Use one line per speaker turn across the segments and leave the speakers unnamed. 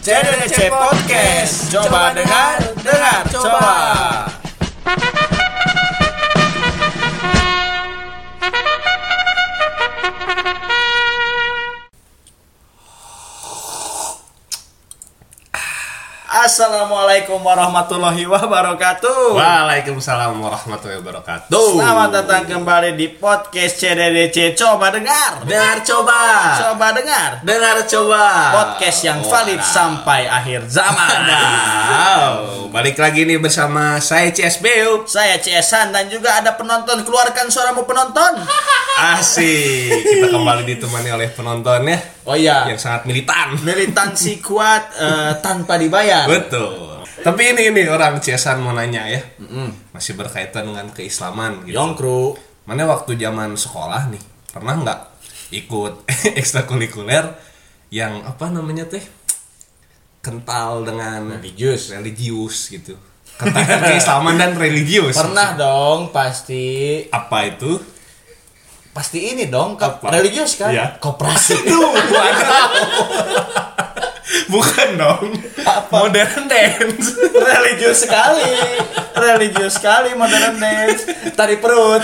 CDDC Podcast. Coba dengar, dengar, coba. Assalamualaikum warahmatullahi wabarakatuh.
Waalaikumsalam warahmatullahi wabarakatuh.
Selamat datang kembali di podcast CDDC Coba Dengar.
Dengar coba.
Coba dengar.
Dengar coba.
Podcast yang valid
Wadaw.
sampai akhir zaman.
Wadaw. Balik lagi nih bersama saya CSBU.
Saya CSan dan juga ada penonton keluarkan suaramu penonton.
Asik. Kita kembali ditemani oleh penontonnya
Oh iya.
yang sangat militan.
Militansi kuat eh, tanpa dibayar.
Betul. Tapi ini ini orang CSan mau nanya ya. Masih berkaitan dengan keislaman gitu.
Yongkru.
Mana waktu zaman sekolah nih pernah nggak ikut ekstrakurikuler yang apa namanya teh kental dengan
Religius.
religius gitu kental dengan keislaman dan religius
Pernah dong pasti.
apa itu
Pasti ini dong kap-
Apa?
religius kan?
Iya.
Koperasi.
bukan dong modern dance
religius sekali. Religius sekali modern dance. Tari perut.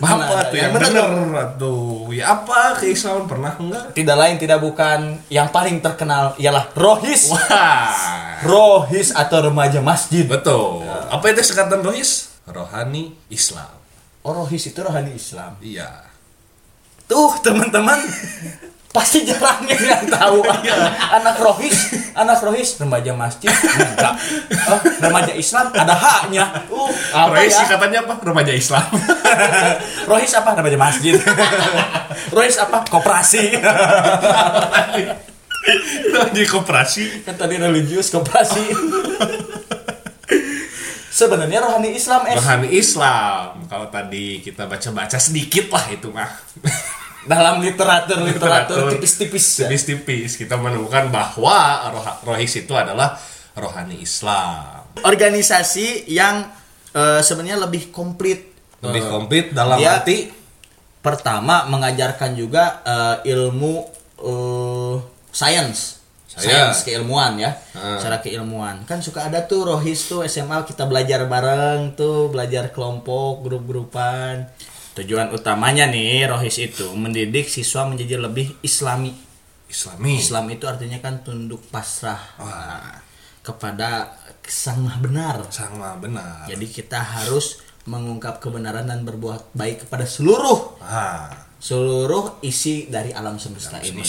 apa tuh yang
Bener
bener tuh ya apa keislaman pernah nggak
Tidak lain tidak bukan yang paling terkenal ialah Rohis.
wah
Rohis atau remaja masjid.
betul apa itu sekatan rohis rohani Islam
Oh, Rohis itu rohani Islam.
iya
Tuh teman-teman pasti jarang ya yang tahu
Iya.
anak rohis anak rohis remaja masjid enggak Oh, remaja Islam ada haknya uh apa
Rohis
ya?
singkatannya apa? Remaja Islam.
rohis apa remaja masjid rohis apa koperasi
Di koperasi.
kan tadi religius koperasi sebenarnya rohani Islam eh
Rohani Islam. Kalau tadi kita baca-baca sedikit lah itu mah.
dalam literatur literatur
Literatur.
tipis-tipis ya.
Tipis-tipis kita menemukan bahwa roh- Rohis itu adalah rohani Islam.
organisasi yang eh, sebenarnya lebih komplit Eh,
Lebih komplit dalam
Dia-
arti
pertama mengajarkan juga eh, ilmu eh, sains
Sains.
sains keilmuan ya cara keilmuan kan suka ada tuh rohis tuh SMA kita belajar bareng tuh belajar kelompok grup-grupan tujuan utamanya nih rohis itu mendidik siswa menjadi lebih islami
Islami.
Islam itu artinya kan tunduk pasrah kepada sang Maha benar
Sama benar.
jadi kita harus mengungkap kebenaran dan berbuat baik kepada seluruh
Ah,
seluruh isi dari alam semesta ini.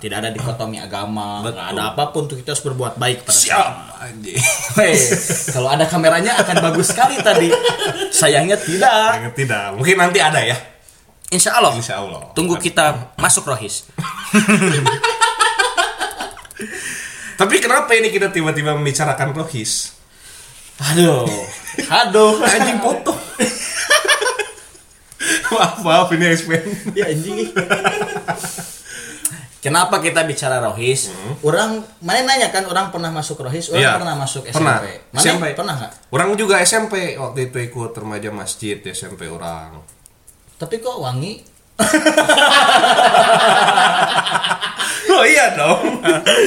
Tidak ada dikotomi agama, nggak ada apapun tuh kita harus berbuat baik pada
siap anjing.
Hei, kalau ada kameranya akan bagus sekali tadi. Sayangnya tidak.
Sangat tidak. Mungkin nanti ada ya.
Insya Allah.
Insya Allah.
Tunggu kita masuk rohis.
Tapi kenapa ini kita tiba-tiba membicarakan Rohis?
Aduh, aduh,
Anjing foto. maaf, maaf ini explain.
Ya anjing. Kenapa kita bicara rohis? Orang mana nanya kan orang pernah masuk rohis, orang
Hmm. Iya.
pernah masuk SMP.
Pernah.
Mana
SMP.
pernah nggak?
Orang juga SMP waktu itu ikut remaja masjid di SMP orang.
Tapi kok wangi?
Oh iya dong.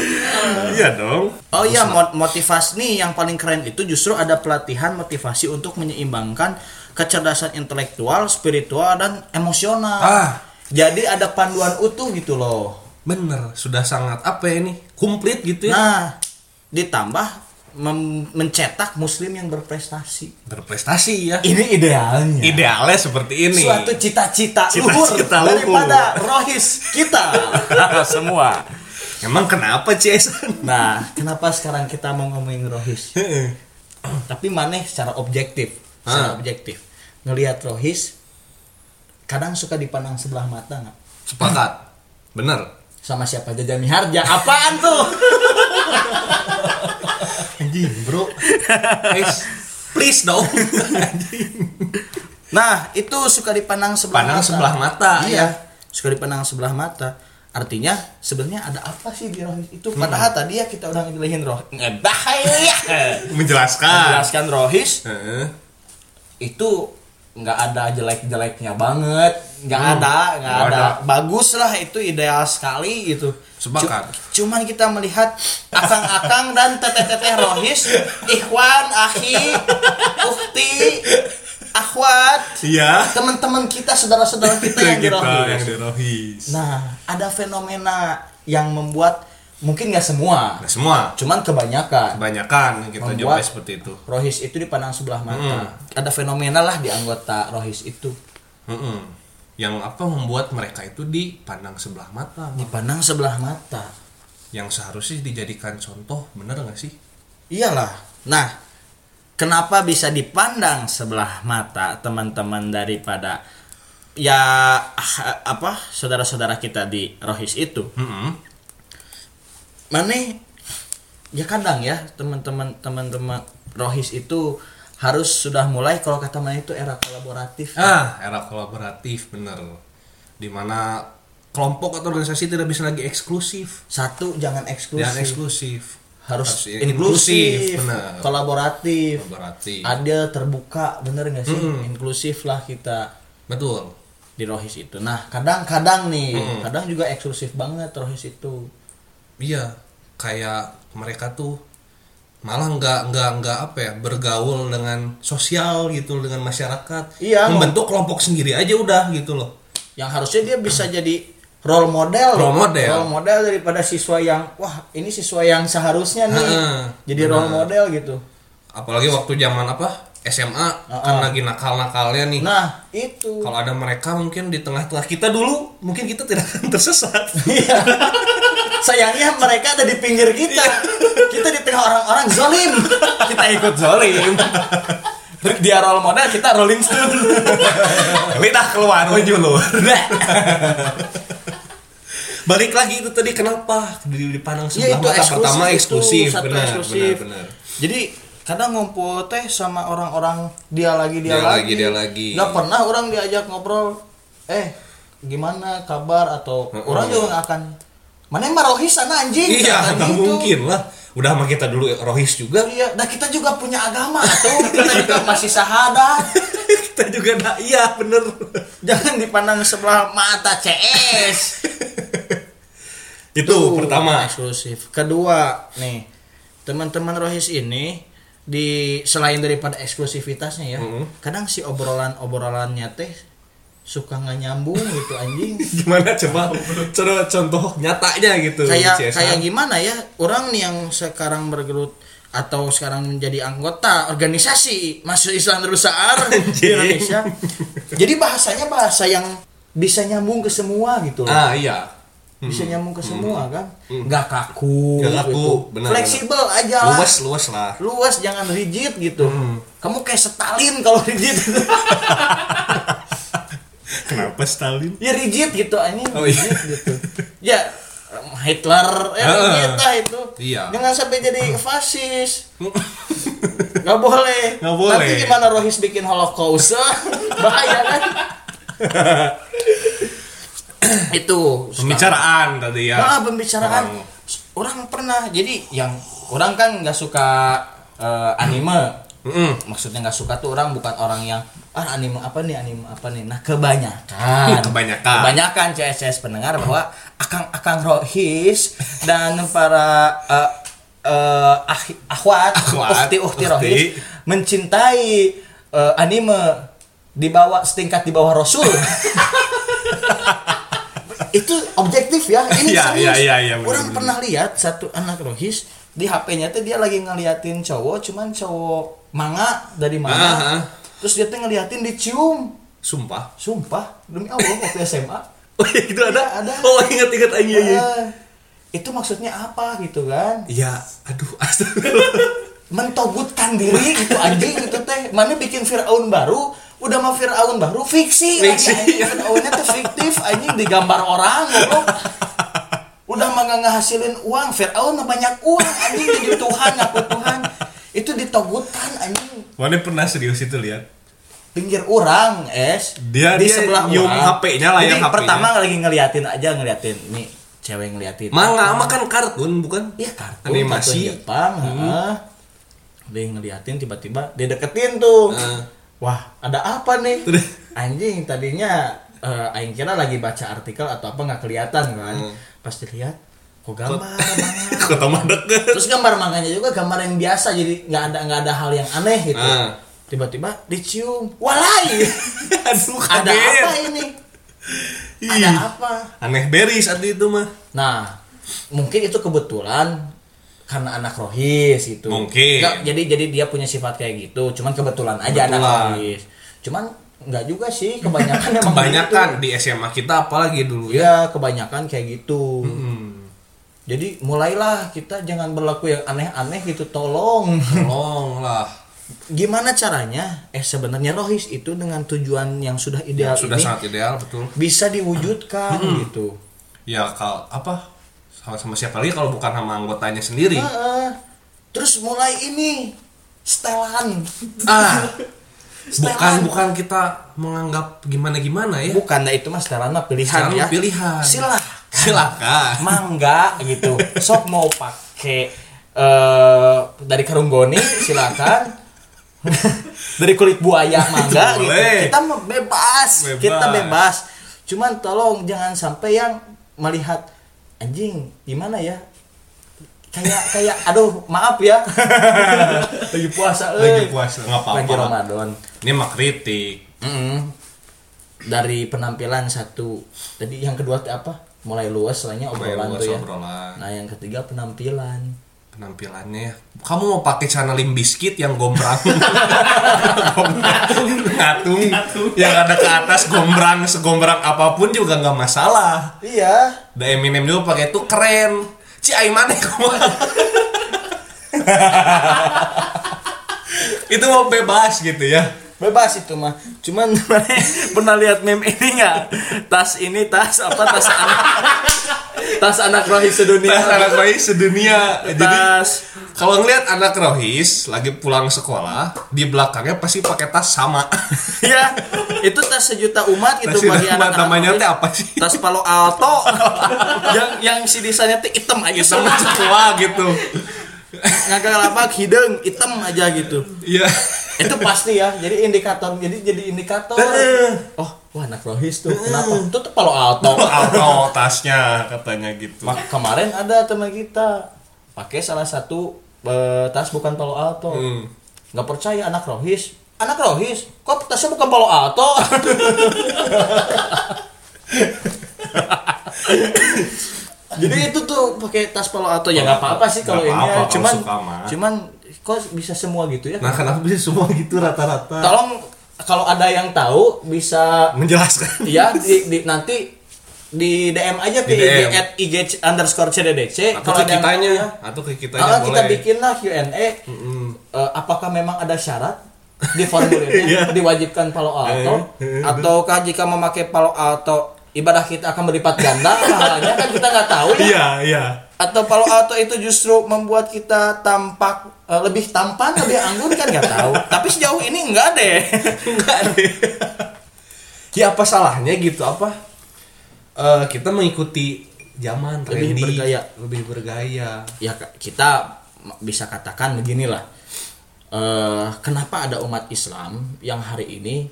iya dong.
Oh iya, mot- motivasi nih yang paling keren itu justru ada pelatihan motivasi untuk menyeimbangkan kecerdasan intelektual, spiritual dan emosional.
Ah.
Jadi ada panduan utuh gitu loh.
Bener, sudah sangat apa ya ini? Komplit gitu ya.
Nah, ditambah mem- mencetak muslim yang berprestasi.
Berprestasi ya.
Ini idealnya.
Idealnya seperti ini.
Suatu cita-cita luhur
Cita-cita luhur.
daripada rohis kita semua.
Emang kenapa Jason?
Nah, kenapa sekarang kita mau ngomongin rohis? tapi maneh secara objektif secara
Ah.
objektif ngelihat Rohis kadang suka dipandang sebelah mata nggak
Sepakat. Bener.
sama siapa Jaja Miharja apaan tuh
Anjing, bro.
Eh,
Guys, please dong.
nah itu suka dipandang sebelah
Pandang
mata.
sebelah mata,
iya suka dipandang sebelah mata artinya sebenarnya ada apa sih di Rohis itu padahal tadi ya kita udah ngejelasin Roh Eh, bahaya Ah.
Menjelaskan.
jelaskan Rohis
ya. Heeh.
itu nggak ada jelek-jeleknya banget nggak ada nggak
Hmm. nggak
ada.
ada.
bagus lah itu ideal sekali gitu
Sepakat.
Cu- cuman kita melihat akang-akang dan teteh-teteh rohis ikhwan akhi ukti akhwat
Iya.
teman-teman kita saudara-saudara kita
Itu
yang di
kita
rohis
yang di Rohis.
nah ada fenomena yang membuat mungkin nggak semua
Nah, semua
cuman kebanyakan
kebanyakan kita
Membuat-
jumpai seperti itu.
Rohis itu dipandang sebelah
Hmm.
mata. Ada fenomena lah di anggota Rohis itu
Mm-mm. Yang apa membuat mereka itu dipandang sebelah mata,
Ah,
Bang.
dipandang sebelah mata.
yang seharusnya dijadikan contoh, bener nggak sih?
Iyalah. Nah, kenapa bisa dipandang sebelah mata teman-teman daripada ya ah, apa saudara-saudara kita di Rohis itu?
Mm-mm.
Mane ya kadang ya teman-teman teman-teman Rohis itu harus sudah mulai kalau kata Mane itu era kolaboratif.
Ah, era kolaboratif bener. Dimana kelompok atau organisasi tidak bisa lagi eksklusif.
Satu jangan eksklusif.
Jangan eksklusif.
harus
Harus
inklusif,
inklusif, benar.
kolaboratif,
Kolaboratif.
adil, terbuka, bener nggak sih? Inklusif lah kita
Betul.
di Rohis itu. Nah, kadang-kadang nih, kadang juga eksklusif banget Rohis itu.
Iya, kayak mereka tuh malah nggak nggak nggak apa ya bergaul dengan sosial gitu dengan masyarakat
Iya,
membentuk kelompok sendiri aja udah gitu loh
Yang harusnya dia bisa jadi role model,
Role model.
role model daripada siswa yang wah ini siswa yang seharusnya nih,
Heeh,
jadi role model gitu.
apalagi waktu zaman apa SMA kan lagi nakal nakalnya nih
Ah, Nah itu.
kalau ada mereka mungkin di tengah-tengah kita dulu mungkin kita tidak akan tersesat
Iya. Sayangnya mereka ada di pinggir kita. Kita di tengah orang-orang zolim. Iya. Kita ikut zolim. Dia role model, kita Rolling Stone. Lidah keluar.
lo balik lagi itu tadi kenapa di dipandang
Ya
sebelah
itu eksklusif
mata pertama
itu,
eksklusif
satu
benar,
eksklusif.
benar benar
Jadi kadang ngumpul teh sama orang-orang dia lagi dia,
Dia
lagi,
lagi, dia lagi.
Nggak pernah orang diajak ngobrol. Eh gimana kabar atau orang juga nggak akan mana yang marohis sana anjing Nggak
iya
akan
nggak
gitu.
mungkin lah udah sama kita dulu rohis juga
iya nah kita juga punya agama tuh kita juga masih sahadat
kita juga dah iya bener
Jangan dipandang sebelah mata CS.
itu pertama
eksklusif. Kedua, nih. Teman-teman Rohis ini di selain daripada eksklusivitasnya ya, kadang si obrolan-obrolannya teh suka nggak nyambung gitu anjing.
gimana coba coba contoh nyatanya gitu
kayak
CSR.
kayak gimana ya? Orang nih yang sekarang bergelut atau sekarang menjadi anggota organisasi masuk Islam Terbesar di
Anjing.
Indonesia. Jadi bahasanya bahasa yang bisa nyambung ke semua gitu loh.
ah iya
bisa nyambung ke semua kan nggak kaku
Hmm. Nggak kaku,
gitu.
benar,
fleksibel aja lah.
luas Hmm. luas lah
luas jangan rigid gitu kamu kayak Stalin kalau rigid
kenapa Stalin
ya rigid gitu ini
Oh, iya.
rigid gitu ya Hitler ya
Ah.
rigid lah itu
Iya.
jangan sampai jadi fasis nggak boleh
Nggak boleh.
nanti gimana Rohis bikin holocaust bahaya kan itu
pembicaraan tadi ya
Ah, pembicaraan
Orang-
orang pernah jadi yang orang kan nggak suka eh, anime
Mm-mm.
Hmm, maksudnya nggak suka tuh orang bukan orang yang ah anime apa nih anime apa nih nah kebanyakan
Kebanyakan.
kebanyakan CSS pendengar bahwa akang akang rohis dan para eh eh, ah- ahwat
Akhwat,
ukti ukti
ukti.
rohis mencintai eh, anime di bawah setingkat di bawah rasul itu objektif ya ini
Iya,
serius
iya, iya, iya, benar,
orang
benar.
pernah lihat satu anak rohis di HP-nya tuh dia lagi ngeliatin cowok cuman cowok manga dari mana
Aha.
terus dia tuh ngeliatin dicium
sumpah
sumpah demi Allah waktu SMA
oh iya, itu
Iya, ada.
oh ingat ingat aja iya iya.
Eh, itu maksudnya apa gitu kan
iya aduh astagfirullah
mentogutkan diri gitu anjing gitu teh mana bikin Fir'aun baru udah mah Fir'aun baru fiksi,
Fiksi.
anjing. Anjing, Fir'aunnya tuh fiktif anjing digambar orang goblok udah mah nggak ngehasilin uang Fir'aun mah banyak uang anjing jadi Tuhan ngaku Tuhan itu ditogutkan anjing
mana pernah serius itu lihat
pinggir orang es
Dia-
di
dia
sebelah
nyium
orang.
HP-nya lah,
jadi
yang HP-nya.
pertama lagi ngeliatin aja ngeliatin nih cewek ngeliatin
manga makan kartun bukan
Iya kartun
Animasi.
kartun Jepang
Hmm.
heeh. dia ngeliatin tiba-tiba dia deketin tuh
Heeh.
wah ada apa nih
Terus?
anjing tadinya eh, aing kira lagi baca artikel atau apa nggak kelihatan kan pas dilihat kok gambar manga.
Kota deket
terus gambar manganya juga gambar yang biasa jadi nggak ada nggak ada hal yang aneh gitu
Ah.
tiba-tiba dicium walai
Aduh
ada
kaget.
apa ya? ini ada
Ih,
apa
Aneh beris arti itu mah.
Nah, mungkin itu kebetulan karena anak rohis gitu.
Mungkin.
Nggak, jadi jadi dia punya sifat kayak gitu. Cuman kebetulan aja anak
Kebetulan.
rohis. Cuman nggak juga sih kebanyakan emang
Kebanyakan di SMA kita apalagi dulu
gitu.
ya.
Ya kebanyakan kayak gitu.
Hmm.
Jadi mulailah kita jangan berlaku yang aneh-aneh gitu. Tolong.
Tolong lah.
Gimana caranya? Eh sebenarnya rohis itu dengan tujuan yang sudah ideal Ya,
Sudah
ini
sangat ideal betul.
bisa diwujudkan gitu.
Ya kalau apa sama, sama siapa lagi kalau bukan sama anggotanya sendiri.
Heeh. Terus mulai ini setelan.
Ah. Bukan
Setelan.
bukan kita menganggap gimana-gimana ya.
bukan nah itu mas setelan mah pilihan
Setelan
ya
pilihan.
silah
Silakan.
mangga gitu sok mau pakai eh dari karung goni silakan dari kulit buaya mangga gitu.
Boleh.
kita mah bebas.
Bebas.
kita bebas cuman tolong jangan sampai yang melihat anjing gimana ya kayak kayak aduh maaf ya lagi puasa eh.
Lagi puasa nggak
lagi
apa-apa.
Ramadan
Ini mah kritik.
Mm-mm. Dari penampilan satu, tadi yang kedua teh apa? Mulai luas lainnya
Mulai
obrolan
luas
tuh ya.
obrolan.
Nah yang ketiga penampilan.
penampilannya ya. kamu mau pakai channel biskit yang gombrang Gombrang, ngatung yang ada ke atas gombrang segombrang apapun juga nggak masalah
Iya.
da Eminem juga pakai itu keren ci aing maneh kumaha. itu mau bebas gitu ya
Bebas itu mah. Cuman pernah lihat meme ini nggak? Tas ini tas apa tas anak? tas anak rohis sedunia.
tas anak rohis sedunia jadi
Tas-
kalau ngelihat anak rohis lagi pulang sekolah di belakangnya pasti pakai tas sama
Iya. Itu tas sejuta umat
Tas
gitu bagi
nama-
anak-anak.
namanya
rohis.
teh apa sih
Tas Palo Alto yang yang si desainnya teh hitam aja
sama
semua
tua gitu
ngagak hidung hitam aja gitu
iya
itu pasti ya jadi indikator jadi jadi indikator
Heeh.
oh wah anak rohis tuh kenapa itu tuh palo alto
Oh, auto tasnya katanya gitu
Mak- kemarin ada teman kita pakai salah satu eh, tas bukan palo alto
Hmm.
nggak percaya anak rohis anak rohis kok tasnya bukan palo alto jadi itu tuh pakai tas palo alto ya nggak apa-apa sih kalau
Nggak
ini
apa-apa
ya.
kalau
cuman
suka mah.
cuman kok bisa semua gitu ya
nah kenapa bisa semua gitu rata-rata
tolong kalau ada yang tahu bisa
menjelaskan
ya di, di- nanti di DM aja ke
Di
IG
DM.
at IG underscore CDDC
atau ke
ada yang
kitanya
tahu ya.
atau ke kitanya
kalau kita
boleh
bikin lah Q&A Eh, apakah memang ada syarat di formulirnya
Iya.
diwajibkan palo alto
Eh.
ataukah jika memakai palo alto ibadah kita akan berlipat ganda pahalanya kan kita nggak tahu ya
iya iya
atau palo alto itu justru membuat kita tampak eh, lebih tampan lebih anggun kan nggak tahu tapi sejauh ini enggak deh
enggak deh ya apa salahnya gitu apa Eh, kita mengikuti zaman
Lebih
trendy,
bergaya.
lebih bergaya
ya ka- kita m- bisa katakan beginilah eh kenapa ada umat Islam yang hari ini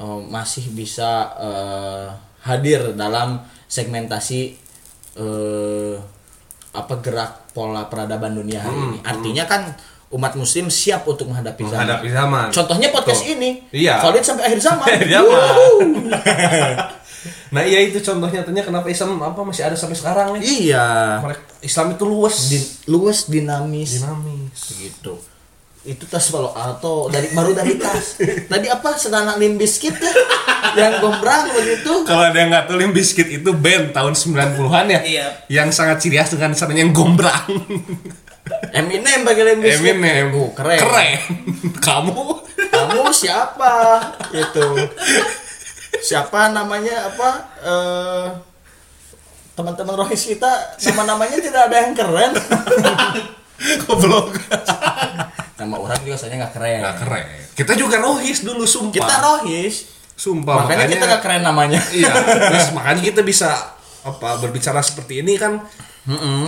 eh, masih bisa eh, hadir dalam segmentasi eh, apa gerak pola peradaban dunia hari
Hmm,
ini artinya kan umat Muslim siap untuk menghadapi zaman.
menghadapi zaman
Contohnya podcast
Betul.
ini,
Iya.
solid sampai akhir zaman.
Akhir zaman.
Wuhu.
nah iya itu contohnya tanya kenapa Islam apa masih ada sampai sekarang nih
iya,
Mereka- Islam itu luas
Din- luas dinamis.
dinamis
gitu itu tas palo alto dari baru dari tas tadi apa sedana limbis kita yang gombrang begitu
Kalau ada yang nggak tahu Limp Bizkit itu band tahun 90-an ya.
Iya.
Yang sangat cirias dengan sananya yang gombrang.
Eminem pakai limbis
Eminem.
Oh, keren.
Keren. Kamu
kamu siapa itu siapa namanya apa eh, teman-teman rohis kita nama-namanya tidak ada yang keren
goblok. Nah,
nama orang juga soalnya nggak keren
Nggak keren. Kita juga rohis dulu sumpah.
kita rohis
sumpah
makanya, kita nggak keren namanya
Iya. Terus makanya kita bisa apa berbicara seperti ini kan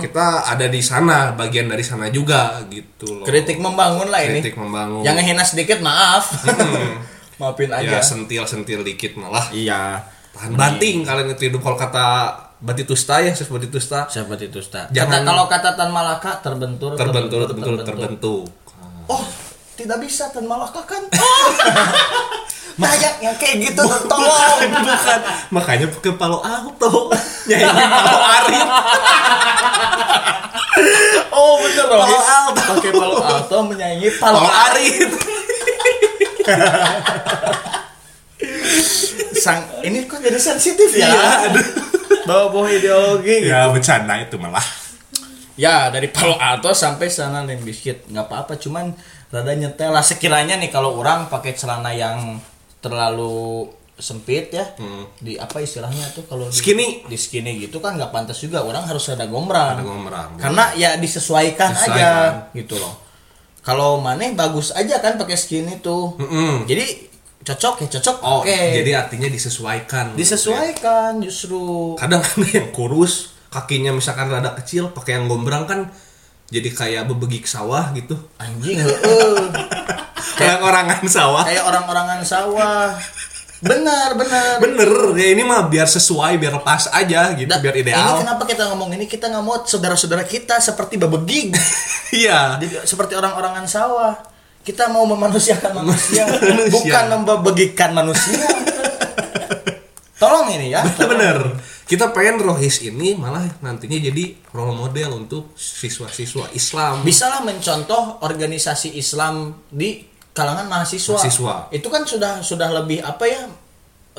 kita ada di sana bagian dari sana juga gitu loh.
kritik membangun lah ini
Kritik membangun.
yang ngehina sedikit maaf maafin
ya
aja
sentil-sentil dikit malah.
Hmm. Iya.
tahan banting kalian itu hidup kalau kata Batitusta ya Chef Batitusta
Siapa itu Ustaz?
Jangan-
Kata- kalau kata Tan Malaka terbentur
terbentur terbentur terbentuk
Oh, tidak bisa Tan Malaka kan. Banyak yang kayak gitu tolong.
bukan makanya pakai palo auto nyanyi palo arif
Oh, bener
Palo Alto.
Pakai Palo Alto menyanyi Palo
palo
Alto.
arif
Sang ini kok jadi sensitif ya?
Iya,
Bawa-bawa ideologi.
ya bercanda itu malah
Ya dari Palo Alto sampai sana Limp Bizkit nggak apa-apa cuman rada nyetel lah sekiranya nih kalau orang pakai celana yang terlalu sempit ya di apa istilahnya tuh kalau di-
Hmm. Skinny.
di, skinny gitu kan nggak pantas juga orang harus rada gombrang
Rada gombrang.
karena ya disesuaikan,
Disesuaikan.
aja gitu loh kalau maneh bagus aja kan pakai skinny tuh
Mm-mm.
jadi cocok ya cocok
oh
oke
jadi artinya disesuaikan
disesuaikan justru
kadang ada yang kurus kakinya misalkan rada kecil pakai yang gombrang kan jadi kayak bebegik sawah gitu
anjing heeh
kayak orangan sawah
kayak orang-orangan sawah benar benar
bener ya ini mah biar sesuai biar pas aja gitu
Da-
biar
Nah, ini
ideal
kenapa kita ngomong ini kita nggak mau saudara-saudara kita seperti babegig
iya
Jadi, seperti orang-orangan sawah kita mau memanusiakan manusia
Manusia.
bukan membebegikan manusia tolong ini ya
bener kita pengen rohis ini malah nantinya jadi role model untuk siswa-siswa Islam
bisalah mencontoh organisasi Islam di kalangan mahasiswa.
Mahasiswa.
Itu kan sudah sudah lebih apa ya?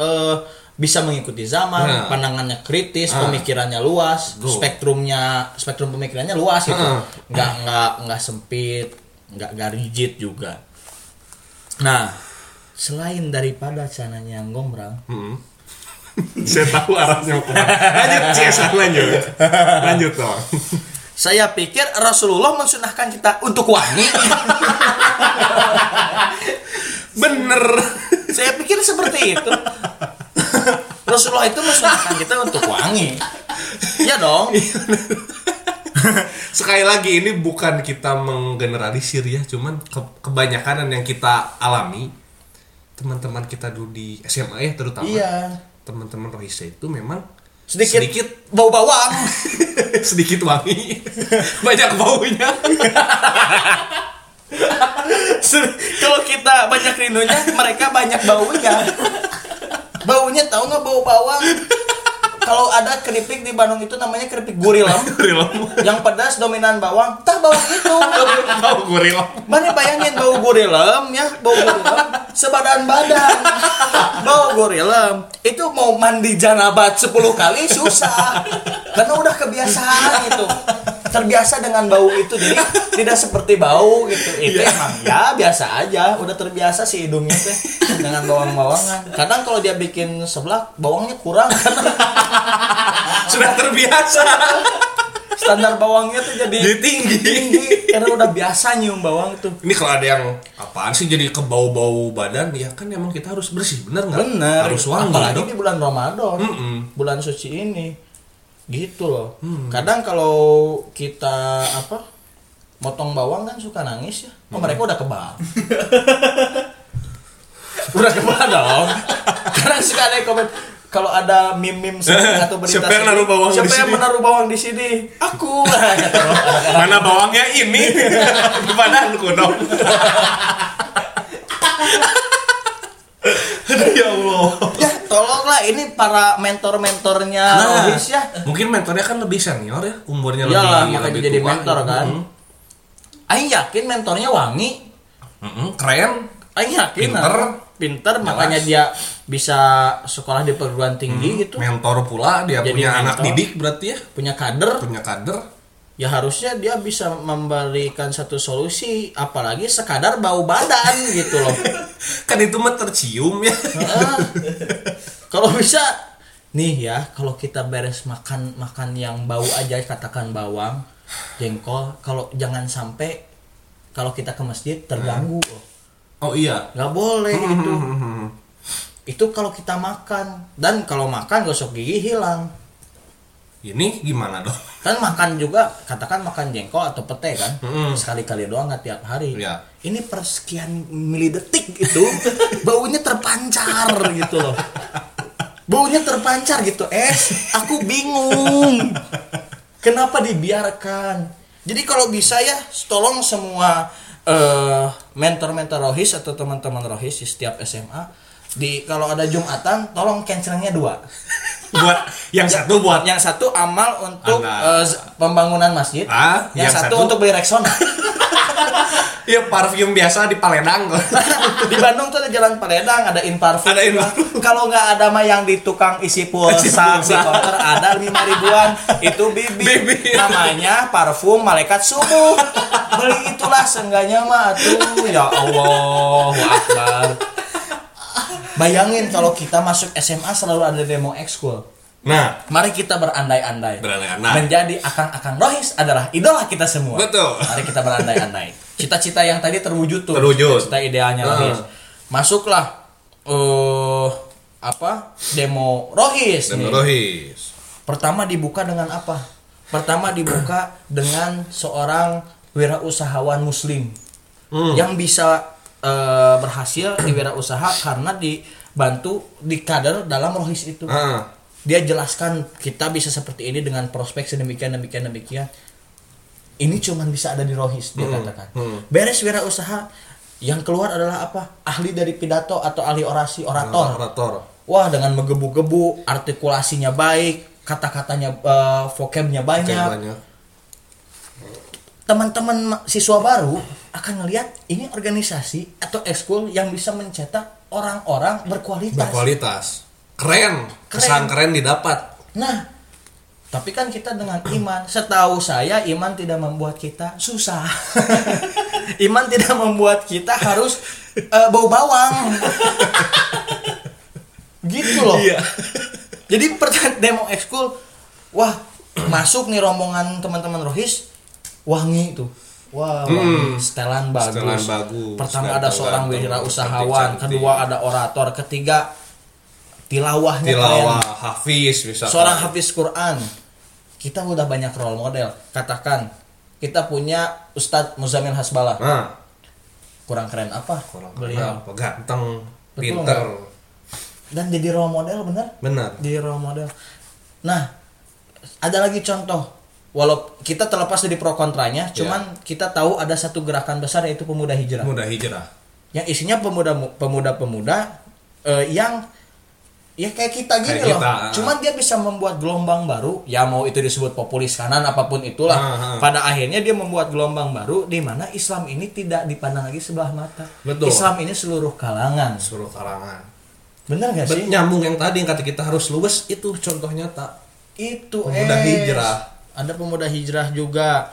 eh, bisa mengikuti zaman,
Nah.
pandangannya kritis,
Ah.
pemikirannya luas,
Betul.
spektrumnya spektrum pemikirannya luas gitu.
Ah.
Nggak nggak nggak sempit, nggak nggak rigid juga. Nah, selain daripada cananya yang gombrang,
Mm. saya tahu arahnya mau kemana lanjut Cies, lanjut lanjut dong
saya pikir Rasulullah mensunahkan kita untuk wangi.
bener
Saya pikir seperti itu. Rasulullah itu mensunahkan kita untuk wangi. Ya dong.
sekali lagi ini bukan kita menggeneralisir ya cuman ke- kebanyakan yang kita alami teman-teman kita dulu di SMA ya terutama
Iya.
teman-teman rohisa itu memang
Sedikit,
sedikit
bau bawang.
sedikit wangi banyak baunya
Se- Kalau kita banyak rindunya, mereka banyak baunya. Baunya tahu nggak bau bawang? Kalau ada keripik di Bandung itu namanya keripik gurilem.
Gurilem.
Yang pedas dominan bawang, tah bawang itu.
bau gurilem
Mana bayangin bau gorilem ya, bau gorilem sebadan badan. Bau gorilem itu mau mandi janabat 10 kali susah. Karena udah kebiasaan itu. Terbiasa dengan bau itu jadi tidak seperti bau gitu. Itu
Iya.
emang ya biasa aja, udah terbiasa si hidungnya teh dengan bawang-bawangan. Kadang kalau dia bikin seblak, bawangnya kurang karena
sudah terbiasa
standar bawangnya tuh jadi
Jadi tinggi.
karena udah biasa nyium bawang tuh.
ini kalau ada yang apaan sih jadi ke bau-bau badan ya kan emang kita harus bersih bener nggak
Bener.
harus wangi
Apalagi
dong
di bulan Ramadan,
Mm-mm.
bulan suci ini, gitu loh. Kadang kalau kita apa, motong bawang kan suka nangis ya. Oh, mereka udah kebal. udah kebal dong. Kadang suka ada yang komen. Kalau ada meme-meme sendiri atau berita
Siapa yang
sendiri,
naruh bawang
siapa
di
yang
sini?
menaruh bawang di sini? Aku. Nah, Kata orang.
mana bawangnya ini di badanku dong Aduh, ya Allah
ya tolonglah ini para mentor-mentornya
Nah,
Rohis ya.
mungkin mentornya kan lebih senior ya, umurnya
Iyalah,
lebih
makanya
lebih
jadi
tua.
mentor kan.
Mm-mm.
Aing yakin mentornya wangi.
Mm-mm, Keren.
Aing yakin
Pinter.
ah. pinter makanya dia bisa sekolah di perguruan tinggi gitu
Mentor pula dia
Jadi
punya anak
mentor.
didik berarti ya,
punya kader
punya kader.
ya harusnya dia bisa memberikan satu solusi apalagi sekadar bau badan gitu loh
Kan itu mah tercium ya.
Ah. kalau bisa nih ya kalau kita beres makan makan yang bau aja katakan bawang jengkol kalau jangan sampai kalau kita ke masjid terganggu loh.
Oh iya.
nggak boleh itu itu kalau kita makan dan kalau makan gosok gigi hilang
Ini gimana dong?
kan makan juga katakan makan jengkol atau pete kan
Mm-mm.
sekali-kali doang nggak tiap hari
Iya.
ini persekian milidetik itu baunya terpancar gitu loh gitu baunya terpancar gitu es aku bingung kenapa dibiarkan jadi kalau bisa ya tolong semua eh, mentor-mentor rohis atau teman-teman rohis di setiap SMA di kalau ada jumatan tolong cancelnya dua
buat yang satu buat
yang satu amal untuk
Anak.
eh, z- pembangunan masjid
Ah,
yang,
yang
satu,
satu-
untuk beli reksona
ya parfum biasa di Paledang kok.
di Bandung tuh ada jalan Paledang ada Inparfum
Ada Inparfum.
kalau nggak ada mah yang di tukang isi pulsa
Isi pulsa.
di koper ada lima ribuan itu bibi.
Bibi.
namanya parfum malaikat subuh beli itulah sengganya mah tuh ya Allah Akbar bayangin kalau kita masuk SMA selalu ada demo ekskul
nah
Mari kita berandai-andai.
Berandai-andai.
Menjadi akang-akang rohis adalah idola kita semua.
Betul.
Mari kita berandai-andai. Cita-cita yang tadi terwujud tuh.
Terwujud. Ah.
Cita idealnya
Heeh.
rohis. Masuklah eh apa? Demo rohis
dan
nih.
Rohis
Pertama dibuka dengan apa? Pertama dibuka dengan seorang wirausahawan muslim
Hmm.
yang bisa eh, berhasil di wirausaha karena dibantu dikader dalam rohis itu
ah
dia jelaskan kita bisa seperti ini dengan prospek sedemikian demikian demikian ini cuman bisa ada di Rohis dia katakan beres wirausaha yang keluar adalah apa ahli dari pidato atau ahli orasi orator
orator
wah dengan menggebu-gebu artikulasinya baik kata-katanya eh, vocabnya
kayak
banyak
banyak
teman-teman ma- siswa baru akan ngelihat ini organisasi atau ekskul yang bisa mencetak orang-orang berkualitas
berkualitas keren kesan keren didapat
Nah, tapi kan kita dengan iman. Setahu saya iman tidak membuat kita susah. iman tidak membuat kita harus eh, bau bawang. gitu loh.
Iya.
Jadi pertanyaan demo ekskul, wah masuk nih rombongan teman-teman Rohis, wangi tuh. Wah, wangi. setelan bagus.
Hmm. Setelan bagus.
Pertama
Setelan
ada seorang
ganteng,
wirausahawan,
cantik-cantik.
kedua ada orator, ketiga tilawahnya keren
tilawah hafiz bisa
seorang hafiz Quran kita udah banyak role model katakan kita punya Ustadz Muzamil Hasbala
nah
kurang keren apa
kurang
beliau
kenapa ganteng
Betul
pinter
dan jadi role model bener
benar
jadi role model nah ada lagi contoh walau kita terlepas dari pro kontranya cuman kita tahu ada satu gerakan besar yaitu pemuda hijrah
mudah hijrah
yang isinya pemuda pemuda pemuda eh, yang ya kayak kita gini loh
Kayak kita, ah.
cuman dia bisa membuat gelombang baru ya mau itu disebut populis kanan apapun itulah
Ah, ah.
pada akhirnya dia membuat gelombang baru di mana Islam ini tidak dipandang lagi sebelah mata
Betul.
Islam ini seluruh kalangan
seluruh karangan
bener gak
Bet,
Iya sih
nyambung yang tadi yang kata kita harus luwes itu contoh nyata
itu
Pemuda
Es.
hijrah.
ada pemuda hijrah juga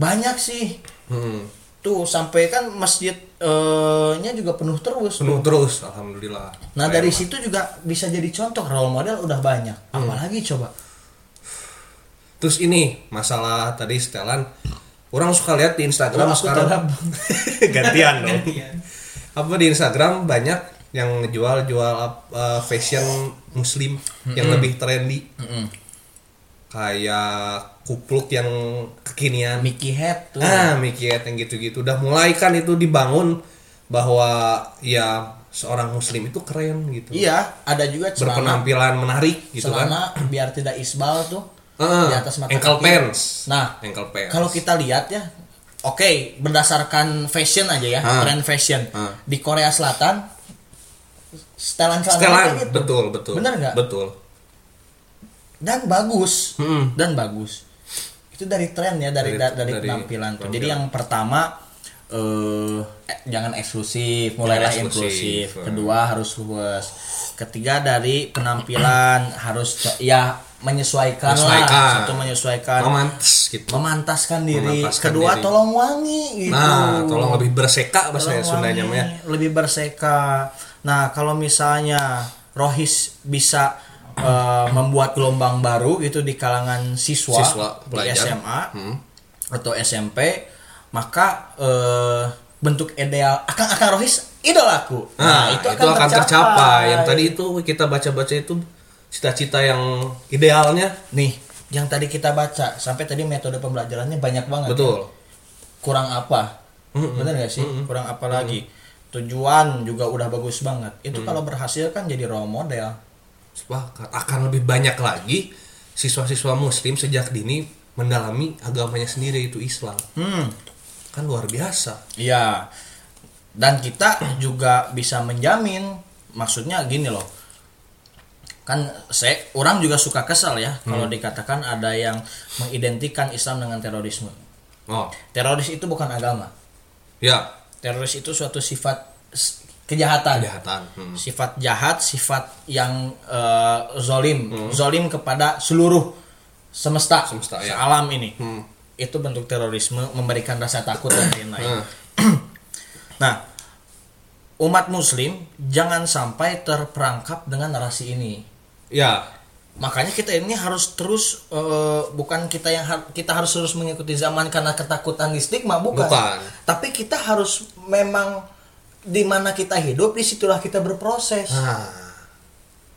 banyak sih
hmm.
tuh sampai kan masjidnya juga penuh terus
penuh terus alhamdulillah
Nah dari situ juga bisa jadi contoh role model udah banyak.
Iya.
Apalagi coba.
terus ini masalah tadi setelan orang suka lihat di Instagram
Oh, aku
sekarang
terap.
gantian dong apa di Instagram banyak yang jual jual uh, fashion muslim yang lebih trendy kayak kupluk yang kekinian
Mickey Head tuh.
Ah, Mickey Ed yang gitu-gitu udah mulai kan itu dibangun bahwa ya seorang muslim itu keren gitu.
Iya, ada juga celana,
Berpenampilan menarik gitu kan.
celana biar tidak isbal tuh
Heeh.
di atas mata
ankle
kaki.
pants.
Nah,
ankle pants.
kalau kita lihat ya, oke berdasarkan fashion aja ya,
Ah.
tren fashion
Ah.
di Korea Selatan setelan
setelan
celana gitu
betul betul.
Bener nggak?
Betul.
dan bagus Hmm.
Mm-mm.
dan bagus. Itu dari tren ya dari dari,
Dari-
dari
dari
penampilan tuh. Jadi
penampilan.
yang pertama eh eh, jangan eksklusif, mulailah
Jangan eksklusif. hmm.
inklusif. Kedua harus luas. Ketiga dari penampilan harus co- ya menyesuaikan,
Menyesuaikan.
lah. Satu menyesuaikan.
Memantas Kan. gitu.
memantaskan diri.
Memantaskan
Kedua
diri.
tolong wangi gitu.
Nah, tolong lebih berseka bahasa
Tolong
Sundanya
wangi,
mah ya.
lebih berseka. Nah, kalau misalnya Rohis bisa eh, membuat gelombang baru itu di kalangan siswa,
Siswa,
di
pelajar.
SMA
Hmm.
atau SMP, maka eh, bentuk ideal akan akan Rohis idolaku.
Nah, itu, akan, tercapai. Yang tadi itu kita baca-baca itu cita-cita yang idealnya
nih yang tadi kita baca sampai tadi metode pembelajarannya banyak banget.
betul.
kurang apa bener gak sih kurang apa lagi tujuan juga udah bagus banget itu kalau berhasil kan jadi role model
Sepakat. Akan lebih banyak lagi siswa-siswa muslim sejak dini mendalami agamanya sendiri itu Islam.
Hmm.
Kan luar biasa.
Iya. Dan kita juga bisa menjamin, maksudnya gini loh. Kan saya orang juga suka kesal ya kalau dikatakan ada yang mengidentikan Islam dengan terorisme.
Oh,
Teroris itu bukan agama.
ya,
Teroris itu suatu sifat s- kejahatan.
kejahatan. Hmm.
Sifat jahat, sifat yang eh, zolim, zolim kepada seluruh semesta,
Hmm. Semesta, ya.
alam ini. Itu bentuk terorisme memberikan rasa takut dan lain-lain.
Hmm.
Nah, umat muslim jangan sampai terperangkap dengan narasi ini.
Ya,
Makanya kita ini harus terus eh, bukan kita yang har- kita harus terus mengikuti zaman karena ketakutan di stigma bukan.
Bukan.
Tapi kita harus memang di mana kita hidup disitulah kita berproses.
Ah,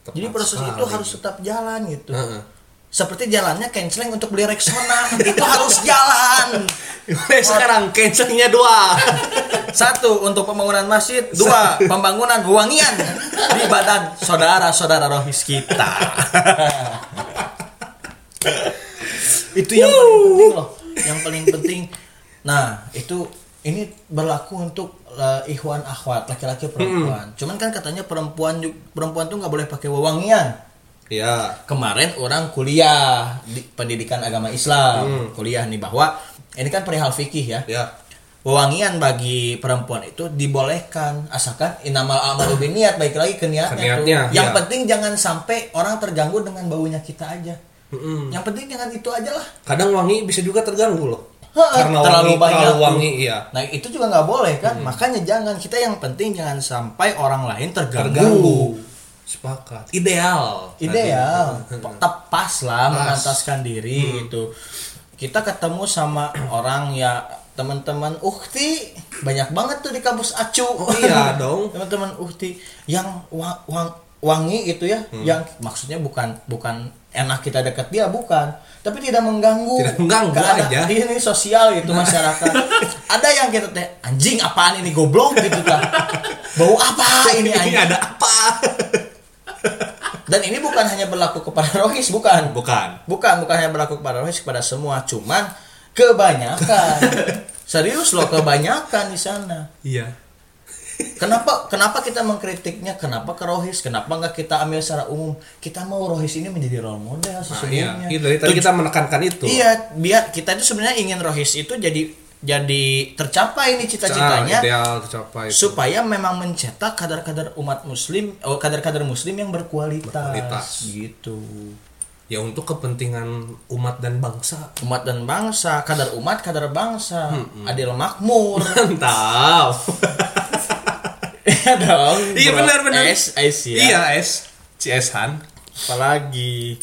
tepat
Jadi proses
sekali. Ah,
itu harus tetap jalan gitu.
Heeh.
Seperti jalannya canceling untuk beli Rexona itu harus jalan.
Weh, sekarang cancelnya dua.
Satu untuk pembangunan masjid, dua pembangunan wangian di badan saudara-saudara rohis kita. itu yang paling penting loh, yang paling penting. Nah itu ini berlaku untuk eh, ikhwan akhwat laki-laki perempuan.
Hmm.
Cuman kan katanya perempuan ju- perempuan tuh nggak boleh pakai wewangian.
ya,
Kemarin orang kuliah di pendidikan agama
Hmm.
Islam, kuliah nih bahwa ini kan perihal fikih ya
ya.
wewangian bagi perempuan itu dibolehkan asalkan inamal amalu niat baik lagi ke niatnya,
Ke niatnya,
tuh. yang
iya.
penting jangan sampai orang terganggu dengan baunya kita aja
Hmm.
yang penting jangan itu aja lah
Kadang wangi bisa juga terganggu loh.
Heeh,
Karena
terlalu
wangi,
banyak
terlalu
tuh.
wangi, iya. Hmm.
nah itu juga nggak boleh kan makanya jangan kita yang penting jangan sampai orang lain terganggu,
Terganggu. Sepakat. Ideal.
ideal
Tadi.
tepas lah mengantaskan diri
Hmm.
gitu kita ketemu sama orang ya teman-teman ukti banyak banget tuh di kampus acu
Oh, iya dong.
teman-teman ukti yang wa- wang- wangi gitu ya
Hmm.
yang maksudnya bukan bukan enak kita deket dia bukan tapi tidak mengganggu
Tidak mengganggu
Keadaan-
aja. Nah.
ini sosial gitu masyarakat ada yang kita teh anjing apaan ini goblok gitu kan bau apa ini
Ini
anjing
ada apa?
dan ini bukan hanya berlaku kepada rohis bukan
Bukan.
bukan bukan hanya berlaku kepada rohis kepada semua cuman kebanyakan serius loh kebanyakan di sana
Iya.
kenapa kenapa kita mengkritiknya kenapa ke rohis kenapa nggak kita ambil secara umum kita mau rohis ini menjadi role model
Nah, iya.
sesungguhnya
Itu dari tadi kita menekankan itu. Nah,
Iya, biar kita itu sebenarnya ingin rohis itu jadi jadi tercapai nih cita-citanya
Cita-citanya ideal tercapai. Ah, itu.
supaya memang mencetak kadar-kadar umat muslim oh, kadar-kadar muslim yang berkualitas,
Berkualitas.
gitu
ya untuk kepentingan umat dan bangsa.
umat dan bangsa kadar umat kadar bangsa adil makmur
Mantap.
iya dong
Iya,
bro.
benar, benar.
es es ya
Iya, S. CS Han.
apalagi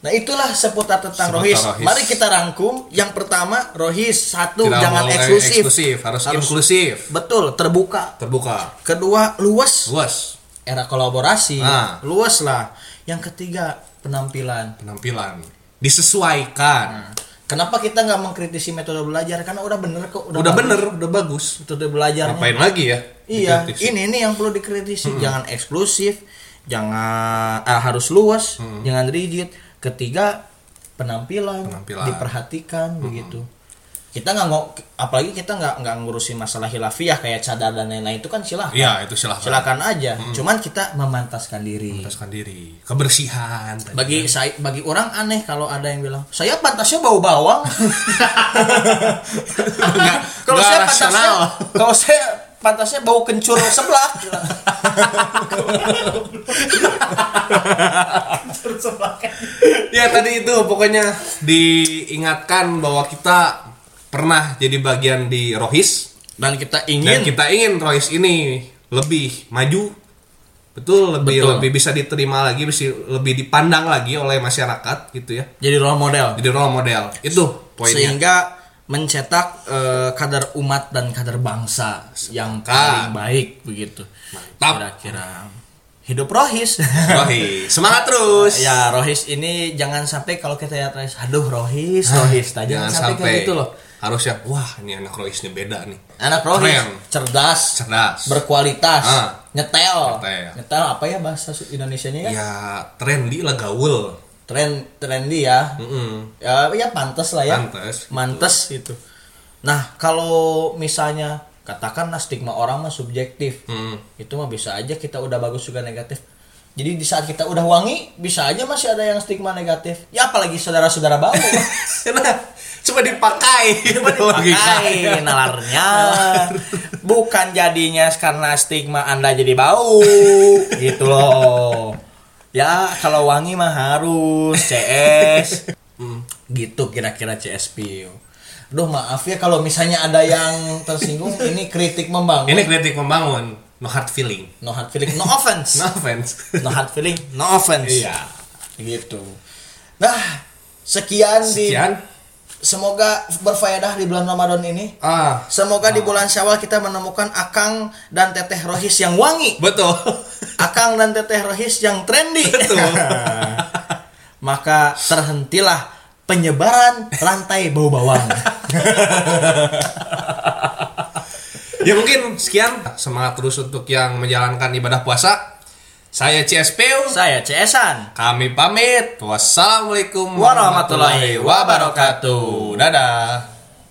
nah itulah seputar tentang
Seputar
rohis.
Rohis.
mari kita rangkum yang pertama rohis satu
Tidak
jangan
boleh
eksklusif.
eksklusif, harus, inklusif.
betul terbuka
Terbuka.
kedua luas
Luas
era kolaborasi
Ah.
luas lah yang ketiga penampilan
penampilan. Disesuaikan.
kenapa kita nggak mengkritisi metode belajar karena udah bener kok
Udah
bagus
bener, udah bagus.
metode belajarnya
Ngapain lagi ya?
Iya,
Dikritisi.
ini ini yang perlu dikritisi.
Hmm.
Jangan eksklusif, jangan ah, harus luas,
Hmm.
jangan rigid. Ketiga, penampilan,
Penampilan. Hmm.
diperhatikan begitu. Kita nggak ngo- apalagi kita nggak nggak ngurusin masalah hilafiah kayak cadar dan lain-lain itu kan silahkan,
Iya, itu silahkan.
silakan aja. Cuman kita memantaskan diri.
Memantaskan diri. Kebersihan. tadi.
Bagi saya, bagi orang aneh kalau ada yang bilang saya pantasnya bau bawang.
Nggak-
kalau
nggak
saya pantasnya,
rasional.
kalau saya pantasnya bau kencur sebelah.
ya tadi itu pokoknya diingatkan bahwa kita pernah jadi bagian di Rohis
dan kita ingin
dan kita ingin Rohis ini lebih maju betul lebih
Betul.
lebih bisa diterima lagi bisa lebih dipandang lagi oleh masyarakat gitu ya
jadi role model
jadi role model itu poinnya
sehingga mencetak eh, kadar umat dan kadar bangsa yang paling baik begitu
Ah. Mantap.
kira-kira hidup rohis
Rohis semangat terus
ya rohis ini jangan sampai kalau kita lihat rohis aduh rohis rohis nah, jangan,
jangan
sampai, kayak
sampai.
gitu loh
harus yang wah ini anak rohisnya beda nih
anak rohis
Keren.
cerdas
cerdas
berkualitas
Ah.
nyetel.
Nyetel.
apa ya bahasa Indonesia nya ya
ya trendy lah gaul
tren trendy ya
Mm-mm.
ya ya pantas lah ya
Pantes, gitu.
mantes gitu nah kalau misalnya katakanlah stigma orang mah subjektif
Mm.
itu mah bisa aja kita udah bagus juga negatif jadi di saat kita udah wangi bisa aja masih ada yang stigma negatif ya apalagi saudara-saudara bau
nah coba dipakai coba
pakai nalarnya bukan jadinya karena stigma anda jadi bau gitu loh ya kalau wangi mah harus CS
Hmm.
gitu kira-kira CSP Duh maaf ya kalau misalnya ada yang tersinggung ini kritik membangun
ini kritik membangun no hard feeling
no hard feeling no offense
no offense
no hard feeling no offense
Nah. iya
gitu nah sekian, di
sekian
semoga berfaedah di bulan Ramadan ini
ah
Semoga di bulan Syawal kita menemukan Akang dan Teteh Rohis yang wangi,
betul
Akang dan Teteh Rohis yang trendy. Maka terhentilah penyebaran rantai bau bawang.
ya mungkin sekian semangat terus untuk yang menjalankan ibadah puasa saya CSPU
Saya Cesan.
kami pamit wassalamualaikum
Warahmatullahi wabarakatuh.
dadah